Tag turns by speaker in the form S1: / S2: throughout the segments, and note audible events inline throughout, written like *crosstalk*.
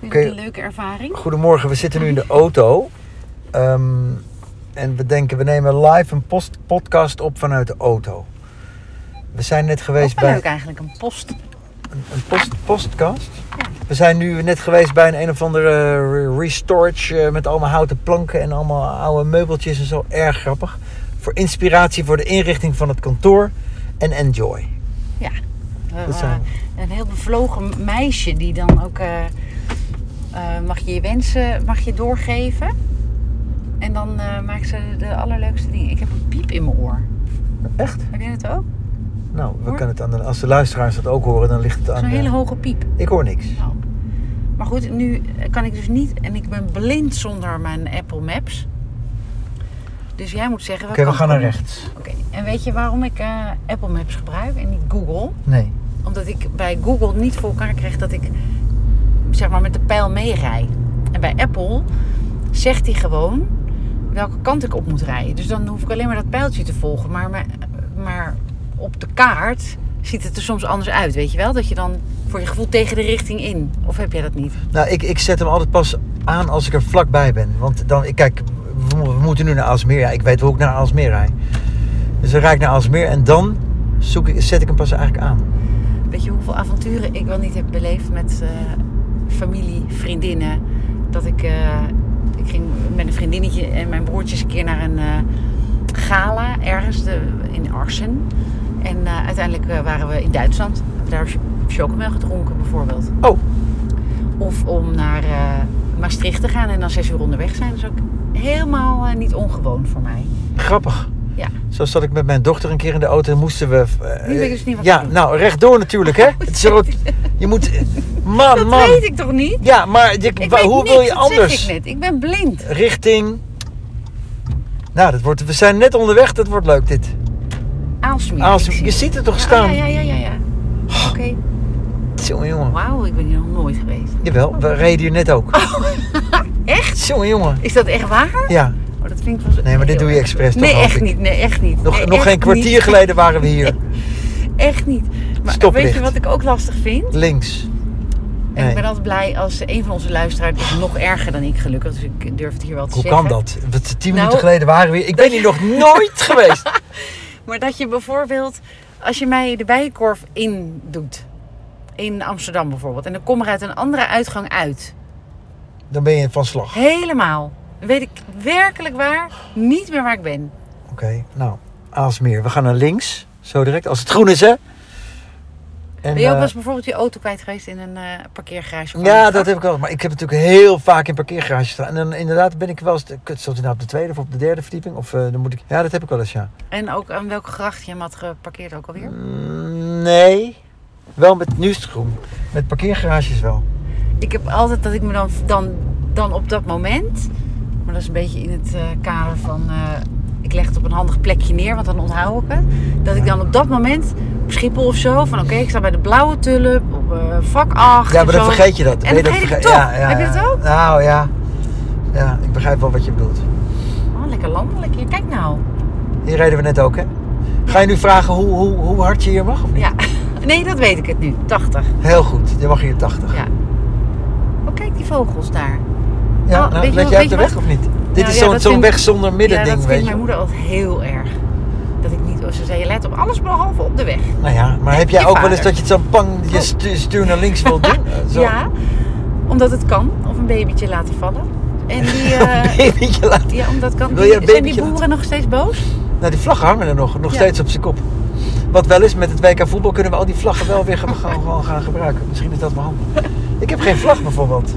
S1: Oké.
S2: een leuke ervaring.
S1: Goedemorgen, we zitten nu in de auto. Ehm, en we denken, we nemen live een post podcast op vanuit de auto. We zijn net geweest
S2: Ook wel
S1: bij
S2: leuk eigenlijk, een post.
S1: een, een post, podcast. We zijn nu net geweest bij een een of andere eh, restorage eh, met allemaal houten planken en allemaal oude meubeltjes en zo. Erg grappig. Voor inspiratie voor de inrichting van het kantoor en enjoy.
S2: We-
S1: Dat zijn we.
S2: we- Eh, een heel bevlogen meisje die dan ook... eh, eh, mag je je wensen mag je doorgeven. En dan eh, maakt ze de allerleukste dingen. Ik heb een piep in mijn oor.
S1: Echt?
S2: Heb jij dat ook?
S1: Nou, we
S2: Hoor.
S1: kunnen het aan de, als de luisteraars dat ook horen, dan ligt het aan.
S2: Zo'n
S1: de-
S2: hele hoge piep.
S1: Ik hoor niks.
S2: Nou. Maar goed, nu kan ik dus niet... En ik ben blind zonder mijn Apple Maps. Dus jij moet zeggen...
S1: Oké, we gaan naar rechts.
S2: Oké, en weet je waarom ik eh, Apple Maps gebruik en niet Google?
S1: Nee.
S2: Omdat ik bij Google niet voor elkaar kreeg dat ik zeg maar met de pijl meerij. En bij Apple zegt hij gewoon welke kant ik op moet rijden. Dus dan hoef ik alleen maar dat pijltje te volgen. Maar, maar, maar op de kaart ziet het er soms anders uit, weet je wel? Dat je dan voor je gevoel tegen de richting in. Of heb jij dat niet?
S1: Nou, ik, ik zet hem altijd pas aan als ik er vlakbij ben. Want dan, ik kijk, we, mo- we moeten nu naar Aalsmeer. Ja, ik weet hoe ik naar Aalsmeer rijd. Dus dan rijd ik naar Aalsmeer en dan zoek ik, zet ik hem pas eigenlijk aan.
S2: Weet je hoeveel avonturen ik wel niet heb beleefd met eh, familie, vriendinnen. Dat ik, eh, ik ging met een vriendinnetje en mijn broertjes een keer naar een eh, gala ergens de, in Arsen. En eh, uiteindelijk eh, waren we in Duitsland. Hebben Daar ch- chocomel gedronken bijvoorbeeld.
S1: Oh.
S2: Of om naar eh, Maastricht te gaan en dan zes uur onderweg zijn. Dat is ook helemaal eh, niet ongewoon voor mij.
S1: Grappig.
S2: Ja.
S1: Zo zat ik met mijn dochter een keer in de auto en moesten we... eh,
S2: Nu weet ik dus niet wat
S1: Ja,
S2: te doen.
S1: nou, rechtdoor natuurlijk,
S2: *laughs*
S1: hè. Het is een soort- je moet... Man,
S2: Dat
S1: man.
S2: weet ik toch niet?
S1: Ja, maar je-
S2: Ik
S1: wa-
S2: weet
S1: hoe
S2: niks,
S1: wil je
S2: dat zeg
S1: anders?
S2: ik net. Ik ben blind.
S1: Richting... Nou, dat wordt, we zijn net onderweg. Dat wordt leuk, dit.
S2: Aalsmeer.
S1: Aals-
S2: Ik zie
S1: je ziet het toch
S2: Ja,
S1: staan? Oh.
S2: Ja, ja, ja, ja. ja. Oké.
S1: Jongen, jongen.
S2: Wauw, ik ben hier nog nooit geweest.
S1: Jawel, we reden hier net ook.
S2: Oh. *laughs* Echt?
S1: Jongen, jongen.
S2: Is dat echt waar?
S1: Ja,
S2: Oh, dat vind ik wel zo-
S1: nee, maar dit
S2: heel
S1: doe je
S2: erg.
S1: expres toch?
S2: Nee,
S1: hoop
S2: echt
S1: ik?
S2: niet. Nee, echt niet.
S1: Nog,
S2: Nee,
S1: nog
S2: echt
S1: geen kwartier
S2: niet.
S1: geleden waren we
S2: *laughs*
S1: hier.
S2: Echt niet. Maar weet
S1: Stoplicht.
S2: je wat ik ook lastig vind?
S1: Links.
S2: En ik
S1: Nee.
S2: ben altijd blij als een van onze luisteraars is nog erger dan ik gelukkig. Dus ik durf het hier wel te
S1: Hoe
S2: zeggen.
S1: kan dat? Wat, tien
S2: Nou,
S1: minuten geleden waren we hier. Ik ben
S2: *laughs*
S1: hier nog nooit geweest.
S2: Maar dat je bijvoorbeeld, als je mij de bijenkorf in doet. In Amsterdam bijvoorbeeld. En dan kom er uit een andere uitgang uit.
S1: Dan ben je van slag.
S2: Helemaal. Dan weet ik werkelijk waar niet meer waar ik ben.
S1: Oké, nou, Aalsmeer. We gaan naar links. Zo direct, als het groen is, hè? En,
S2: Ben je ook
S1: eh,
S2: wel eens bijvoorbeeld je auto kwijt geweest in een eh, parkeergarage? van
S1: ja,
S2: een
S1: dat
S2: vak?
S1: heb ik wel. Maar ik heb natuurlijk heel vaak in parkeergarages staan. En dan, inderdaad ben ik wel eens... Kut, stond hij nou op de tweede of op de derde verdieping? Of eh, dan moet ik... Ja, dat heb ik wel eens, ja.
S2: En ook aan welke gracht je hem had geparkeerd ook alweer?
S1: Mm, Nee. Wel met nu is het groen. Met parkeergarages wel.
S2: Ik heb altijd dat ik me dan, dan, dan op dat moment... Maar dat is een beetje in het eh, kader van... eh, ik leg het op een handig plekje neer, want dan onthoud ik het. Dat ik dan op dat moment op Schiphol of zo... van oké, ik sta bij de blauwe tulp, op eh, vak 8
S1: Ja, maar
S2: en
S1: dan
S2: zo.
S1: vergeet je dat.
S2: En
S1: Ben je
S2: dan
S1: dat
S2: vergeet ik
S1: verge-
S2: het toch. Heb je dat ook?
S1: Nou ja. Ja, ik begrijp wel wat je bedoelt.
S2: Oh, lekker landelijk hier. Kijk nou.
S1: Hier reden we net ook, hè? Ga je nu vragen hoe, hoe, hoe hard je hier mag? Of niet?
S2: Ja. *laughs* Nee, dat weet ik het nu. 80.
S1: Heel goed. Je mag hier 80.
S2: Ja. Oh, kijk die vogels daar.
S1: Ja,
S2: Nou, weet je
S1: let
S2: wat-
S1: jij
S2: weet
S1: op de
S2: je
S1: weg
S2: wat-
S1: of niet? Dit
S2: Ja,
S1: is
S2: ja,
S1: zo'n
S2: dat
S1: zo'n
S2: vind-
S1: weg zonder
S2: ja,
S1: middending,
S2: dat
S1: weet
S2: vindt
S1: je.
S2: mijn moeder altijd heel erg. Dat ik niet... Ze zei, let op alles behalve op de weg.
S1: Nou ja, maar heb jij
S2: Je
S1: ook wel eens
S2: vader.
S1: dat je het zo'n pang, je
S2: Oh.
S1: stu- stuur naar links wil doen? Eh, Zo.
S2: Ja, omdat het kan. Of een babytje laten vallen. En
S1: *laughs*
S2: die... eh,
S1: *laughs* Babytje laat-
S2: ja, omdat kan.
S1: Wil je een
S2: die- zijn die
S1: babytje
S2: boeren
S1: laten-
S2: nog steeds boos?
S1: Nou, die vlaggen hangen er nog, nog
S2: Ja.
S1: steeds op zijn kop. Wat wel is, met het WK voetbal kunnen we al die vlaggen wel weer gaan, gaan- gewoon gaan gebruiken. Misschien is dat wel handig. Ik heb geen vlag bijvoorbeeld.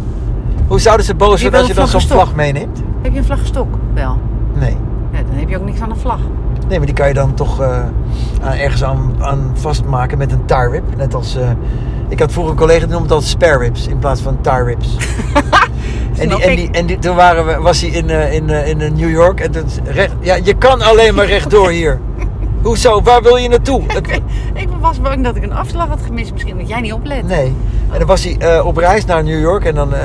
S1: Hoe zouden ze boos
S2: Je
S1: worden als je
S2: wil
S1: dan
S2: een
S1: zo'n
S2: vlaggenstok.
S1: vlag meeneemt?
S2: Heb je een vlaggestok? Wel.
S1: Nee.
S2: Ja, dan heb je ook niks aan de vlag. *laughs*
S1: Nee, maar die kan je dan toch eh, aan, ergens aan, aan vastmaken met een tie rip. Net als, eh, ik had vroeger een collega die noemde het altijd spare ribs in plaats van tie
S2: *laughs*
S1: ribs. en, die,
S2: Snap
S1: en,
S2: ik.
S1: die, en die, toen waren we, was hij in, eh, in, eh, in eh, New York en toen recht, ja, je kan alleen maar rechtdoor hier. Hoezo? Waar wil je naartoe? Het-
S2: Ik was bang dat ik een afslag had gemist. Misschien dat jij niet oplet.
S1: Nee. En dan was hij eh, op reis naar New York en dan eh,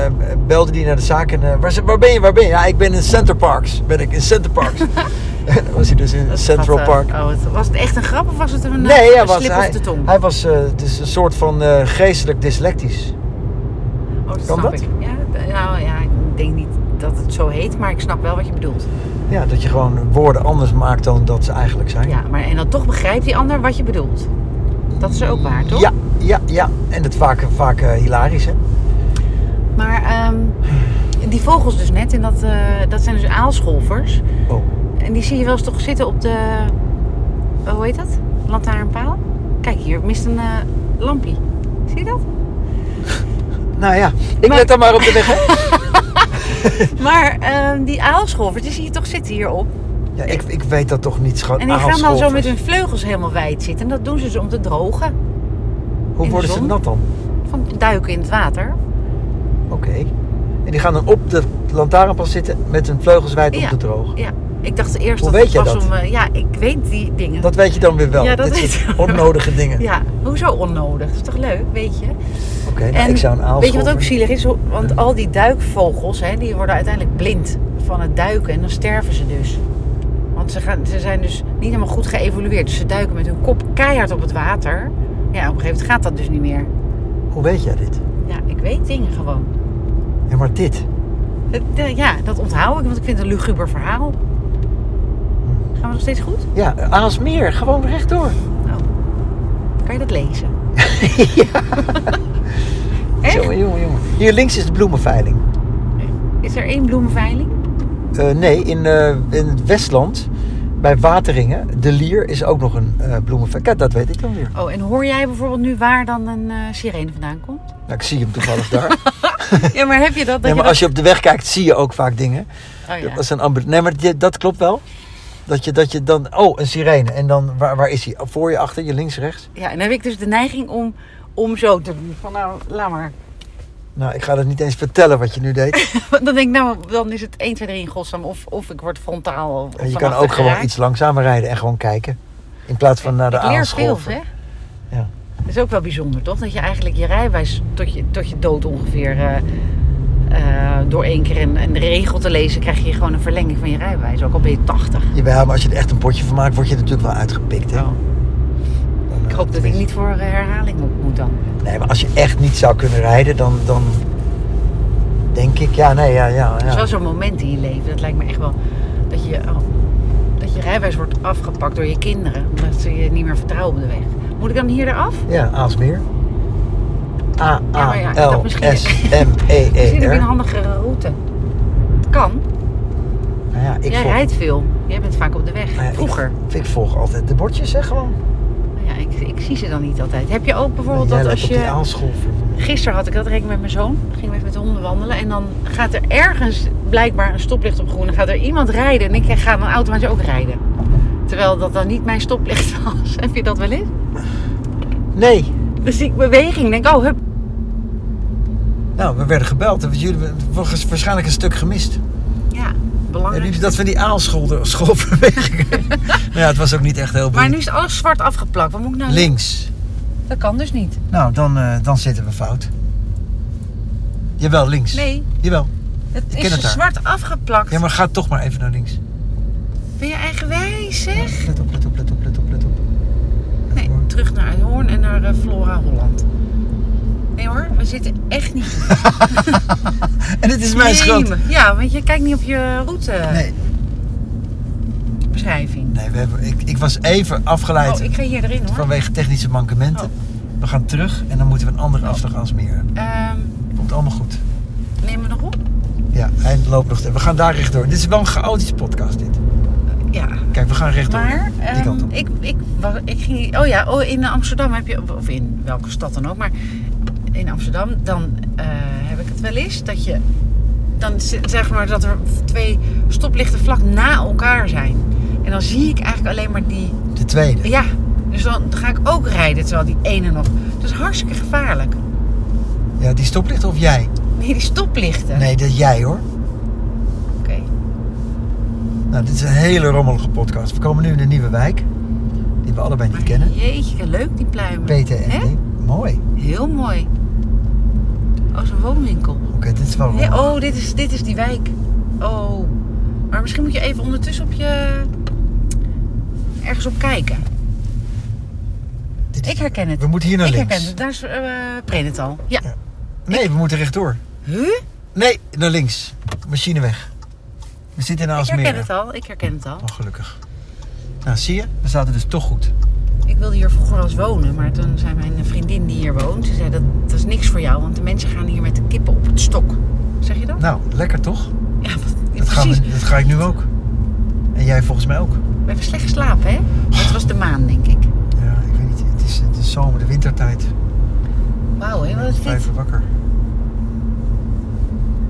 S1: belde hij naar de zaak. En, eh, waar, ze- waar ben je, waar ben je? Ja, ik ben in Center Parks. Ben ik in Center
S2: *laughs*
S1: Parks. En dan was hij dus in
S2: Dat
S1: Central
S2: gaat, eh,
S1: Park.
S2: oh, het- was het echt een grap of was het een,
S1: Nee,
S2: eh,
S1: hij
S2: een
S1: was,
S2: slip
S1: hij,
S2: of de tong?
S1: hij was eh, dus een soort van eh, geestelijk dyslectisch.
S2: oh, dat
S1: kan
S2: snap
S1: dat?
S2: ik. Ja, denk niet dat het zo heet, maar ik snap wel wat je bedoelt.
S1: Ja, dat je gewoon woorden anders maakt dan dat ze eigenlijk zijn.
S2: Ja, maar en dan toch begrijpt die ander wat je bedoelt. Dat is ook waar, toch?
S1: ja, ja. ja. En dat vaak, vaak eh, hilarisch, hè?
S2: Maar ehm, die vogels dus net, en dat, eh, dat zijn dus aalscholvers.
S1: Oh.
S2: En die zie je wel eens toch zitten op de... Hoe heet dat? Lantaarnpaal? Kijk, hier mist een eh, lampie. Zie je dat?
S1: Nou ja, ik
S2: Maar-
S1: let dan maar op de weg,
S2: *laughs*
S1: hè?
S2: Maar ehm, die aalscholvers, die zie je toch zitten hierop.
S1: Ja, ik, ik weet dat toch niet, schat.
S2: En die gaan dan zo
S1: Aalscholvers.
S2: met hun vleugels helemaal wijd zitten. En dat doen ze dus om te drogen. in
S1: Hoe
S2: de
S1: worden ze
S2: zon.
S1: nat dan?
S2: Van duiken in het water.
S1: Oké. En die gaan dan op de lantaarnpaal zitten met hun vleugels wijd
S2: Ja.
S1: op de droog.
S2: Ja, ik dacht eerst
S1: Hoe
S2: dat
S1: weet
S2: het
S1: jij
S2: was
S1: dat?
S2: om... eh, ja, ik weet die dingen.
S1: Dat weet je dan weer wel.
S2: Ja, dat
S1: Dit
S2: weet
S1: soort
S2: ik wel.
S1: onnodige dingen.
S2: Ja, hoezo onnodig? Dat is toch leuk, weet je?
S1: Oké, nou, ik zou een aalscholver...
S2: weet je wat ook zielig is? Hoe- Want al die duikvogels, hè, die worden uiteindelijk blind van het duiken. En dan sterven ze dus. Want ze, gaan, ze zijn dus niet helemaal goed geëvolueerd. Dus ze duiken met hun kop keihard op het water. Ja, op een gegeven moment gaat dat dus niet meer.
S1: Hoe weet jij dit?
S2: Ja, ik weet dingen gewoon.
S1: Ja, maar dit.
S2: Het, eh, ja, dat onthoud ik, want ik vind het een luguber verhaal.
S1: Hm.
S2: Gaan we nog steeds goed?
S1: Ja, Aalsmeer, gewoon rechtdoor.
S2: Kan je dat lezen?
S1: *laughs*
S2: *laughs* Echt?
S1: Jongen, jongen, jongen. Hier links is de bloemenveiling.
S2: Is er één bloemenveiling?
S1: Eh, nee, in, eh, in het Westland, bij Wateringen, de Lier, is ook nog een eh bloemenveiling. Kijk, dat weet ik dan weer.
S2: Oh, en hoor jij bijvoorbeeld nu waar dan een eh, sirene vandaan komt?
S1: Nou, ik zie hem toevallig daar.
S2: *laughs* Ja, maar heb je dat? dat
S1: Nee, maar
S2: dat-
S1: als je op de weg kijkt, zie je ook vaak dingen.
S2: Oh, ja.
S1: Dat is een ambu- Nee, maar dit- dat klopt wel. Dat je, dat je dan... Oh, een sirene. En dan, waar, waar is hij? Voor je, achter je, links, rechts?
S2: ja, en dan heb ik dus de neiging om, om zo te doen. Van nou, laat maar. *laughs*
S1: Nou, ik ga dat niet eens vertellen wat je nu deed.
S2: Want dan denk ik, nou, dan is het 1, 2, 3 in godsnaam. Of, of ik word frontaal. Of,
S1: En je
S2: van
S1: kan
S2: achter
S1: ook gewoon
S2: geraakt.
S1: iets langzamer rijden en gewoon kijken. In plaats van naar de
S2: Ik leer veel,
S1: aanscholven.
S2: hè?
S1: Ja.
S2: Dat is ook wel bijzonder, toch? Dat je eigenlijk je rijwijs tot je, tot je dood ongeveer... eh, eh, door één keer een, een regel te lezen... krijg je gewoon een verlenging van je rijwijs. Ook al ben je 80.
S1: Jawel, maar als je er echt een potje van maakt, word je er natuurlijk wel uitgepikt. Hè? Dan,
S2: Oh. Ik
S1: eh,
S2: hoop dat ik niet voor eh, herhaling moet, moet dan.
S1: Nee, maar als je echt niet zou kunnen rijden, dan, dan denk ik, ja, nee, ja, ja.
S2: Dat is
S1: ja.
S2: wel zo'n moment in je leven. Dat lijkt me echt wel... Dat je, oh, dat je rijwijs wordt afgepakt door je kinderen. Omdat ze je niet meer vertrouwen op de weg. Moet ik dan hier eraf?
S1: Ja, Aalsmeer.
S2: Ja, maar ja, ik dacht misschien-
S1: E Eh,
S2: Misschien heb je een
S1: A-A-L-S-M-E-E-R.
S2: handigere route. Het kan.
S1: Nou ja, ik
S2: Jij
S1: volg,
S2: rijdt veel. Jij bent vaak op de weg.
S1: nou ja, ik-
S2: Vroeger.
S1: Ik, volg altijd de bordjes, zeg gewoon.
S2: Nou Ja, ik, ik zie ze dan niet altijd. Heb je ook
S1: Nou,
S2: bijvoorbeeld
S1: jij
S2: dat
S1: lijkt
S2: als
S1: op die
S2: je...
S1: Aalschool.
S2: Gisteren had ik dat rekening met mijn zoon. Gingen we even met de honden wandelen. En dan gaat er ergens blijkbaar een stoplicht op groen. Dan gaat er iemand rijden. En ik ga dan automatisch ook rijden. Terwijl dat dan niet mijn stoplicht *laughs* was. Heb je dat wel eens?
S1: Nee,
S2: Dan zie ik Dus beweging. denk oh, hup.
S1: nou, we werden gebeld. want Jullie hebben waarschijnlijk een stuk
S2: Oh,
S1: gemist.
S2: Ja,
S1: Hebben
S2: belangrijk.
S1: jullie dat van die aalschoolbeweging?
S2: *laughs*
S1: nou ja, het was ook niet echt heel
S2: Maar
S1: boeiend.
S2: nu is alles zwart afgeplakt. Wat moet ik nou...
S1: Links.
S2: Dat kan dus niet.
S1: Nou, dan, eh, dan zitten we fout. Jawel, links.
S2: Nee,
S1: Jawel.
S2: het
S1: ken het
S2: is
S1: daar.
S2: zwart afgeplakt.
S1: Ja, maar ga toch maar even naar links.
S2: Ben je eigenwijs, zeg?
S1: Let op, let op, let op, let op, let op.
S2: Nee, terug naar Hoorn en naar eh, Flora Holland. Nee hoor, we zitten echt niet. goed.
S1: En dit is mijn schuld.
S2: Jemig. Ja, want je kijkt niet op je routebeschrijving.
S1: Nee, nee we hebben, ik, ik was even afgeleid
S2: Oh, ik Oh. ga hier erin hoor.
S1: vanwege technische mankementen. We gaan terug en dan moeten we een
S2: Oh.
S1: andere afslag als meer.
S2: Ehm
S1: Komt allemaal goed.
S2: nemen we nog op?
S1: Ja, en loopt nog. We gaan daar rechtdoor. Dit is wel een chaotische podcast dit.
S2: Ja.
S1: Kijk, we gaan rechtdoor.
S2: Maar
S1: Die
S2: ehm,
S1: kant op.
S2: ik, ik, wa- ik ging. Oh ja, oh, in Amsterdam heb je. Of in welke stad dan ook. Maar in Amsterdam, dan eh, heb ik het wel eens dat je. Dan z- zeg maar dat er twee stoplichten vlak na elkaar zijn. En dan zie ik eigenlijk alleen maar die
S1: De tweede.
S2: Ja, dus dan ga ik ook rijden terwijl die ene nog. Dat is hartstikke gevaarlijk.
S1: Ja, die stoplichten of jij?
S2: Nee, die stoplichten.
S1: Nee, dat jij hoor.
S2: Oké.
S1: Nou, dit is een hele rommelige podcast. We komen nu in een nieuwe wijk. Die we allebei niet
S2: Maar
S1: kennen.
S2: Jeetje, leuk die pluimen. Hè?
S1: PTND. Mooi.
S2: Heel mooi. Oh, zo'n woonwinkel.
S1: Oké, dit is wel
S2: Nee,
S1: rommelig.
S2: oh, dit is, dit is die wijk. Oh. Maar misschien moet je even ondertussen op je... Ergens op kijken.
S1: Dit is-
S2: Ik herken het.
S1: We moeten hier naar
S2: ik
S1: links.
S2: herken het. Daar is eh Prenetal. Ja.
S1: Nee, we moeten rechtdoor.
S2: Huh?
S1: Nee, naar links. machine weg. We zitten in
S2: Ik
S1: Aalsmeer.
S2: herken het al, ik herken het al.
S1: Oh, gelukkig. Nou, zie je? We zaten dus toch goed.
S2: Ik wilde hier vroeger al eens wonen, maar toen zei mijn vriendin die hier woont, ze zei dat, dat is niks voor jou, want de mensen gaan hier met de kippen op het stok. Zeg je dat?
S1: Nou, lekker toch?
S2: ja, wat-
S1: Dat, gaan
S2: precies.
S1: we, dat ga ik nu ook. En jij volgens mij ook.
S2: We hebben slecht geslapen, hè? Maar het was de maan, denk ik.
S1: Ja, ik weet niet. Het is, het is zomer, de wintertijd.
S2: Wauw, hè? Wat is dit?
S1: Blijven wakker.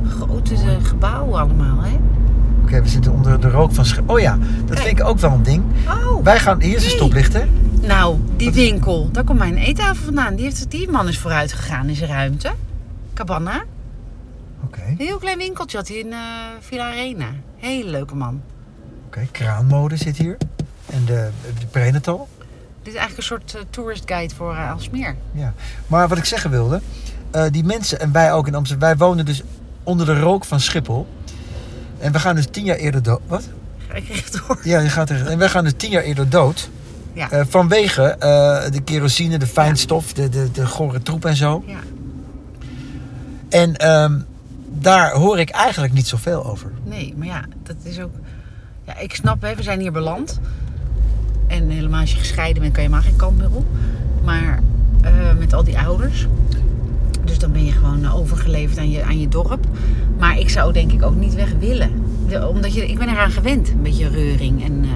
S2: Grote eh, gebouwen allemaal, hè?
S1: Oké, we zitten onder de rook van Sche- Oh ja, dat
S2: Kijk.
S1: vind ik ook wel een ding.
S2: Oh,
S1: Wij gaan... Hier is een
S2: Nee.
S1: stoplicht, hè?
S2: nou, die
S1: Wat is-
S2: winkel. Daar komt mijn eettafel vandaan. Die, heeft, die man is vooruit gegaan in zijn ruimte. Cabana.
S1: Oké,
S2: Een heel klein winkeltje had hij in eh, Villa Arena. Hele leuke man.
S1: oké. Kraanmode zit hier. En de, de Brenetal.
S2: Dit is eigenlijk een soort eh, tourist guide voor eh, Aalsmeer.
S1: Ja. Maar wat ik zeggen wilde... eh, die mensen, en wij ook in Amsterdam... Wij wonen dus onder de rook van Schiphol. En we gaan dus tien jaar eerder dood... Wat?
S2: Ga ik rechtdoor?
S1: Ja, je gaat er, en wij gaan dus tien jaar eerder dood.
S2: Ja.
S1: Eh, vanwege eh, de kerosine, de fijnstof, de, de, de gore troep en zo.
S2: Ja.
S1: En ehm, daar hoor ik eigenlijk niet zoveel over.
S2: Nee, maar ja, dat is ook... Ja, ik snap, hè, we zijn hier beland. En helemaal als je gescheiden bent, kan je maar geen kant meer op. Maar eh, met al die ouders. Dus dan ben je gewoon eh, overgeleverd aan je, aan je dorp. Maar ik zou denk ik ook niet weg willen. De- omdat je, ik ben eraan gewend, een beetje reuring. En, eh,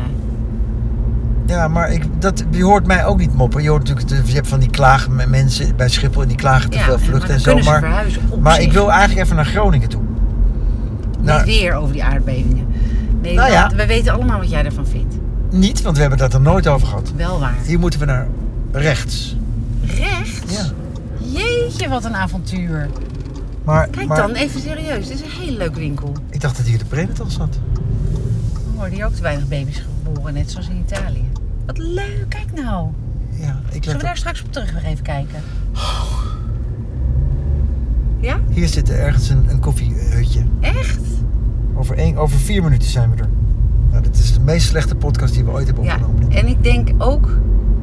S1: Ja, maar ik, dat, je hoort mij ook niet moppen. Je, hoort natuurlijk, de- je hebt van die klagen met mensen bij Schiphol en die klagen te
S2: ja,
S1: veel
S2: en- maar
S1: vluchten
S2: dan
S1: en zo.
S2: kunnen ze
S1: Maar,
S2: verhuizen op
S1: maar
S2: zich.
S1: ik wil eigenlijk even naar Groningen toe. Nou,
S2: Niet weer over die aardbevingen. Nee,
S1: Nou
S2: want
S1: ja.
S2: we weten allemaal wat jij ervan vindt.
S1: niet, want we hebben dat er nooit over gehad.
S2: Wel waar.
S1: Hier moeten we naar rechts.
S2: Rechts?
S1: Ja.
S2: Jeetje, wat een avontuur.
S1: Maar,
S2: Kijk
S1: maar
S2: dan, even serieus. Dit is een hele leuke winkel.
S1: ik dacht dat hier de Brenetal zat.
S2: Er worden hier ook te weinig baby's geboren, net zoals in Italië. Wat leuk, kijk nou.
S1: Ja, ik
S2: Zullen we
S1: let op.
S2: daar straks op terug weer even kijken? Ja,
S1: Hier zit ergens een, een koffiehutje.
S2: echt?
S1: Over, één, over vier minuten zijn we er. Nou, dit is de meest slechte podcast die we ooit hebben
S2: Ja,
S1: opgenomen.
S2: en ik denk ook,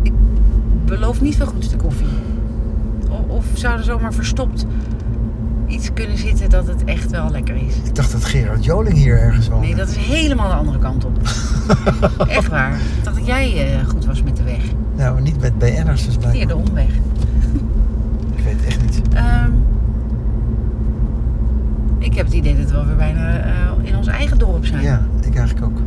S2: ik beloof niet veel goeds de koffie. O- Of zou er zomaar verstopt iets kunnen zitten dat het echt wel lekker is.
S1: Ik dacht dat Gerard Joling hier ergens woonde.
S2: Nee, dat is helemaal de andere kant op. Echt waar. Ik dacht dat jij eh, goed was met de weg.
S1: Nou, niet met BN'ers dus blijkbaar.
S2: Via de omweg.
S1: Ik weet het echt niet.
S2: Ehm, ik heb het idee dat we alweer bijna eh, in ons eigen dorp zijn.
S1: Ja, ik eigenlijk ook.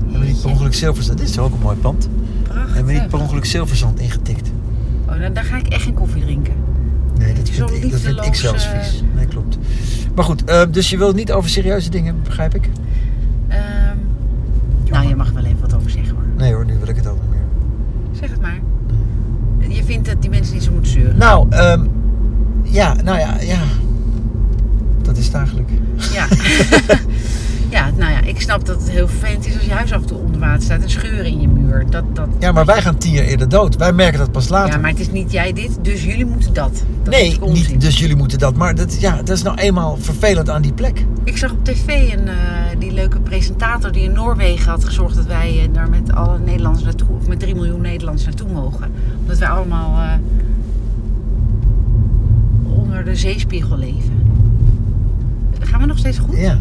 S1: Hebben we niet per
S2: Jeetje,
S1: ongeluk zilverzand... Dit is ook een mooi pand.
S2: Prachtig.
S1: Hebben we niet per ongeluk zilverzand ingetikt?
S2: Oh, nou, daar ga ik echt geen koffie drinken.
S1: Nee,
S2: Het
S1: dat
S2: is
S1: vind,
S2: zo'n
S1: ik, dat vind ik
S2: liefdeloos,
S1: zelfs
S2: eh,
S1: vies. Nee, klopt. Maar goed, eh, dus je wilt niet over serieuze dingen, begrijp ik?
S2: Ehm, nou, je mag wel even wat over zeggen hoor.
S1: Nee hoor, nu wil ik het ook niet meer.
S2: Zeg het maar. Je vindt dat die mensen niet zo moeten zeuren.
S1: Nou, ehm, ja, nou ja, ja. Dat is het eigenlijk.
S2: Ja. *laughs* ja, nou ja, ik snap dat het heel vervelend is als je huis af en toe onder water staat. Een scheur in je muur. Dat, dat,
S1: Ja, maar wij gaan tien jaar eerder dood. Wij merken dat pas later.
S2: Ja, maar het is niet jij dit, dus jullie moeten dat. dat is
S1: nee,
S2: natuurlijk onzin.
S1: niet, dus jullie moeten dat. Maar dat, ja, dat is nou eenmaal vervelend aan die plek.
S2: Ik zag op tv een, eh, die leuke presentator die in Noorwegen had gezorgd dat wij eh, daar met alle Nederlanders naartoe, of met 3 miljoen Nederlanders naartoe mogen. Omdat wij allemaal eh, onder de zeespiegel leven. Gaan we nog steeds goed?
S1: Ja.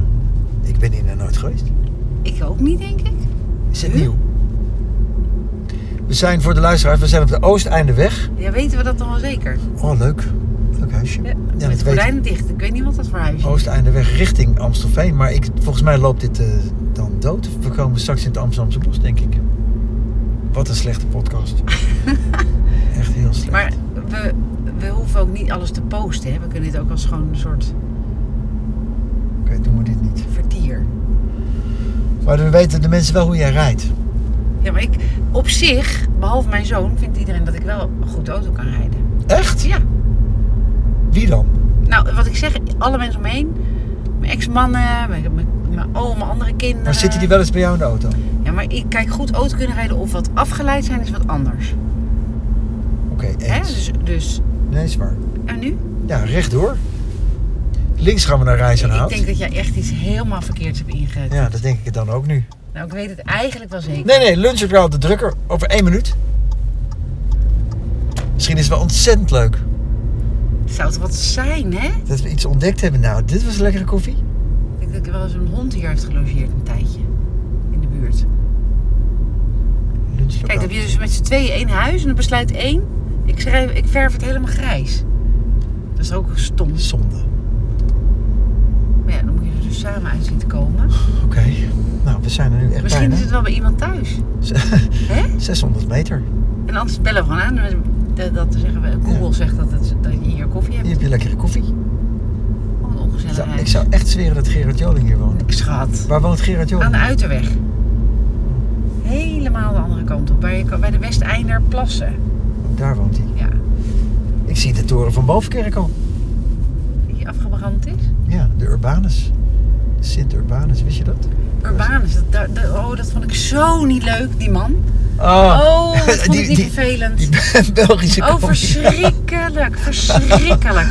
S1: Ik ben hier nog nooit geweest.
S2: Ik ook niet, denk ik.
S1: Is het
S2: Huh?
S1: nieuw? We zijn voor de luisteraars, we zijn op de Oosteindeweg.
S2: Ja, weten we dat dan wel zeker?
S1: Oh, leuk. Leuk huisje. Ja, dat Oh.
S2: met de
S1: weet ik.
S2: gordijnen dicht. Ik weet niet wat dat voor huis is.
S1: Oosteindeweg richting Amstelveen. Maar ik, volgens mij loopt dit eh, dan dood. We komen straks in het Amsterdamse bos, denk ik. Wat een slechte
S2: *laughs*
S1: podcast. Echt heel slecht.
S2: Maar we, we hoeven ook niet alles te posten. Hè? We kunnen dit ook als gewoon een soort
S1: Oké, doen we dit niet.
S2: vertier.
S1: Maar dan weten de mensen wel hoe jij rijdt.
S2: Ja, maar ik, op zich, behalve mijn zoon, vindt iedereen dat ik wel een goed auto kan rijden.
S1: Echt?
S2: Ja.
S1: Wie dan?
S2: Nou, wat ik zeg, alle mensen omheen. Mijn ex-mannen, mijn, mijn, mijn oom, mijn andere kinderen.
S1: Maar zitten die wel eens bij jou in de auto? Oké,
S2: Ja, maar ik kijk goed auto kunnen rijden of wat afgeleid zijn is wat anders. Hè?
S1: eens.
S2: Dus, dus,
S1: Nee, is waar.
S2: en nu?
S1: Ja, rechtdoor. Links gaan we naar
S2: ik
S1: Rijzenhout.
S2: denk dat jij echt iets helemaal verkeerds hebt ingezet.
S1: Ja, dat denk ik het dan ook nu.
S2: Nou, ik weet het eigenlijk wel zeker.
S1: Nee, nee, lunch heb je al op de drukker. Over één minuut. Misschien is het wel ontzettend leuk.
S2: Zou het wat zijn, hè?
S1: Dat we iets ontdekt hebben. Nou, dit was lekkere koffie.
S2: Ik denk dat er wel eens een hond hier heeft gelogeerd een tijdje. In de buurt.
S1: Lunchlokaal.
S2: Kijk, dan heb je dus met z'n tweeën één huis en dan besluit één. Ik, schrijf, ik verf het helemaal grijs. Dat is ook stom.
S1: Zonde.
S2: Maar ja, dan moet je er dus samen uit zien te komen.
S1: Oké. Nou, we zijn er nu echt
S2: Misschien is
S1: bijna.
S2: het wel bij iemand thuis.
S1: *laughs*
S2: Hè?
S1: 600 meter.
S2: En anders bellen we gewoon aan. Dat, dat zeggen we, Google zegt dat, het, dat je hier koffie hebt.
S1: Hier heb je lekkere koffie.
S2: Wat een
S1: Ik
S2: ongezellig
S1: zou, ik
S2: huis.
S1: zou echt zweren dat Gerard Joling hier woont.
S2: Schat.
S1: Waar woont Gerard
S2: Aan
S1: Joling?
S2: de Uiterweg. Helemaal de andere kant op. Bij, bij de Westeinder Plassen.
S1: Daar woont hij.
S2: Ja.
S1: Ik zie de toren van Bovenkerk al.
S2: Die afgebrand is.
S1: Ja, de Urbanus. Sint Urbanus, wist je dat?
S2: Urbanus. Dat, dat- dat- oh, dat vond ik zo niet leuk, die man. Oh,
S1: *laughs*
S2: dat vond ik niet vervelend.
S1: Ah. Die *laughs* Belgische
S2: oh,
S1: comedy.
S2: verschrikkelijk. Verschrikkelijk.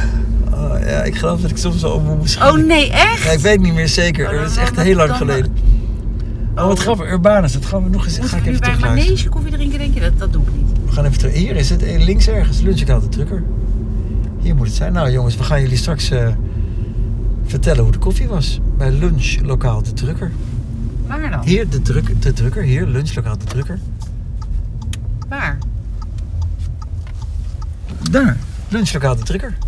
S1: Oh, ja, ik geloof dat ik soms al moe moest
S2: Oh nee, echt?
S1: Ja, ik weet niet meer zeker.
S2: Oh, dan-
S1: dat is echt
S2: dan-
S1: heel lang
S2: dan-
S1: geleden. Oh,
S2: Oh,
S1: wat
S2: dat-
S1: grappig. Urbanus, dat gaan we nog eens... Ga
S2: Moeten
S1: ik
S2: we nu
S1: even
S2: bij
S1: terugluisteren.
S2: manege koffie drinken? Denk je dat? Dat doe ik niet.
S1: We gaan even terug. Hier is het. eh, Links ergens. Lunch ik altijd drukker. Hier moet het zijn. Nou jongens, we gaan jullie straks eh, vertellen hoe de koffie was. Bij lunchlokaal de drukker.
S2: Waar dan?
S1: Hier de, druk, de drukker. Hier, lunchlokaal de drukker.
S2: Waar?
S1: Daar. Lunchlokaal de drukker.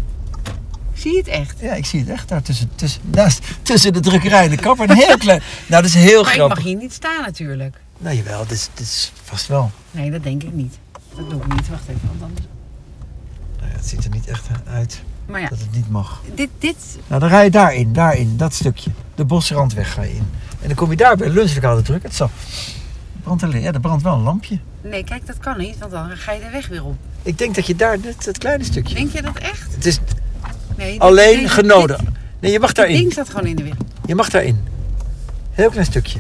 S2: Zie je het echt?
S1: Ja, ik zie het echt daar tussen, tussen, naast, tussen de drukkerij en de kapper. Een heel klein... Nou, dat is heel
S2: Maar ik
S1: grappig.
S2: mag hier niet staan natuurlijk.
S1: Nou jawel, dit is, dit is vast wel.
S2: Nee, dat denk ik niet. Dat doe ik niet. Wacht even, want anders...
S1: Nou ja, het ziet er niet echt uit
S2: Maar ja,
S1: dat het niet mag.
S2: dit, dit...
S1: Nou, dan ga je daarin, daarin, dat stukje. De bosrandweg ga je in. En dan kom je daar bij lunchlokaal de druk. Het zal. Brandt er, ja, er brandt wel een lampje.
S2: Nee, kijk, dat kan niet, want dan ga je de weg weer op.
S1: Ik denk dat je daar net dat kleine stukje.
S2: Denk je dat echt?
S1: Het is
S2: Nee. dit-
S1: alleen
S2: dit-
S1: genoden.
S2: dit-
S1: Nee, je mag
S2: Dit ding
S1: daarin.
S2: staat gewoon in de weg.
S1: Je mag daarin. Heel klein stukje.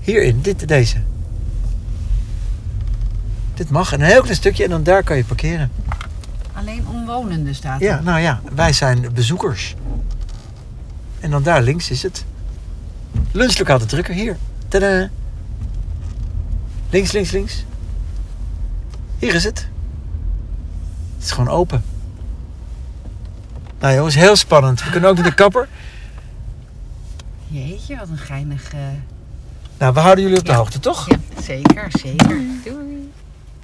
S1: Hierin, dit, deze. Dit mag. Een heel klein stukje en dan daar kan je parkeren.
S2: Alleen omwonenden staat er.
S1: Ja, nou ja, wij zijn bezoekers. En dan daar links is het. Lunchlokaal de drukker, hier. Tadaa. Links, links, links. Hier is het. Het is gewoon open. Nou jongens, heel spannend. We kunnen ook naar de kapper.
S2: Jeetje, wat een geinig... eh,
S1: Nou, we houden jullie op de
S2: Ja.
S1: hoogte, toch?
S2: Ja, zeker, zeker. Doei.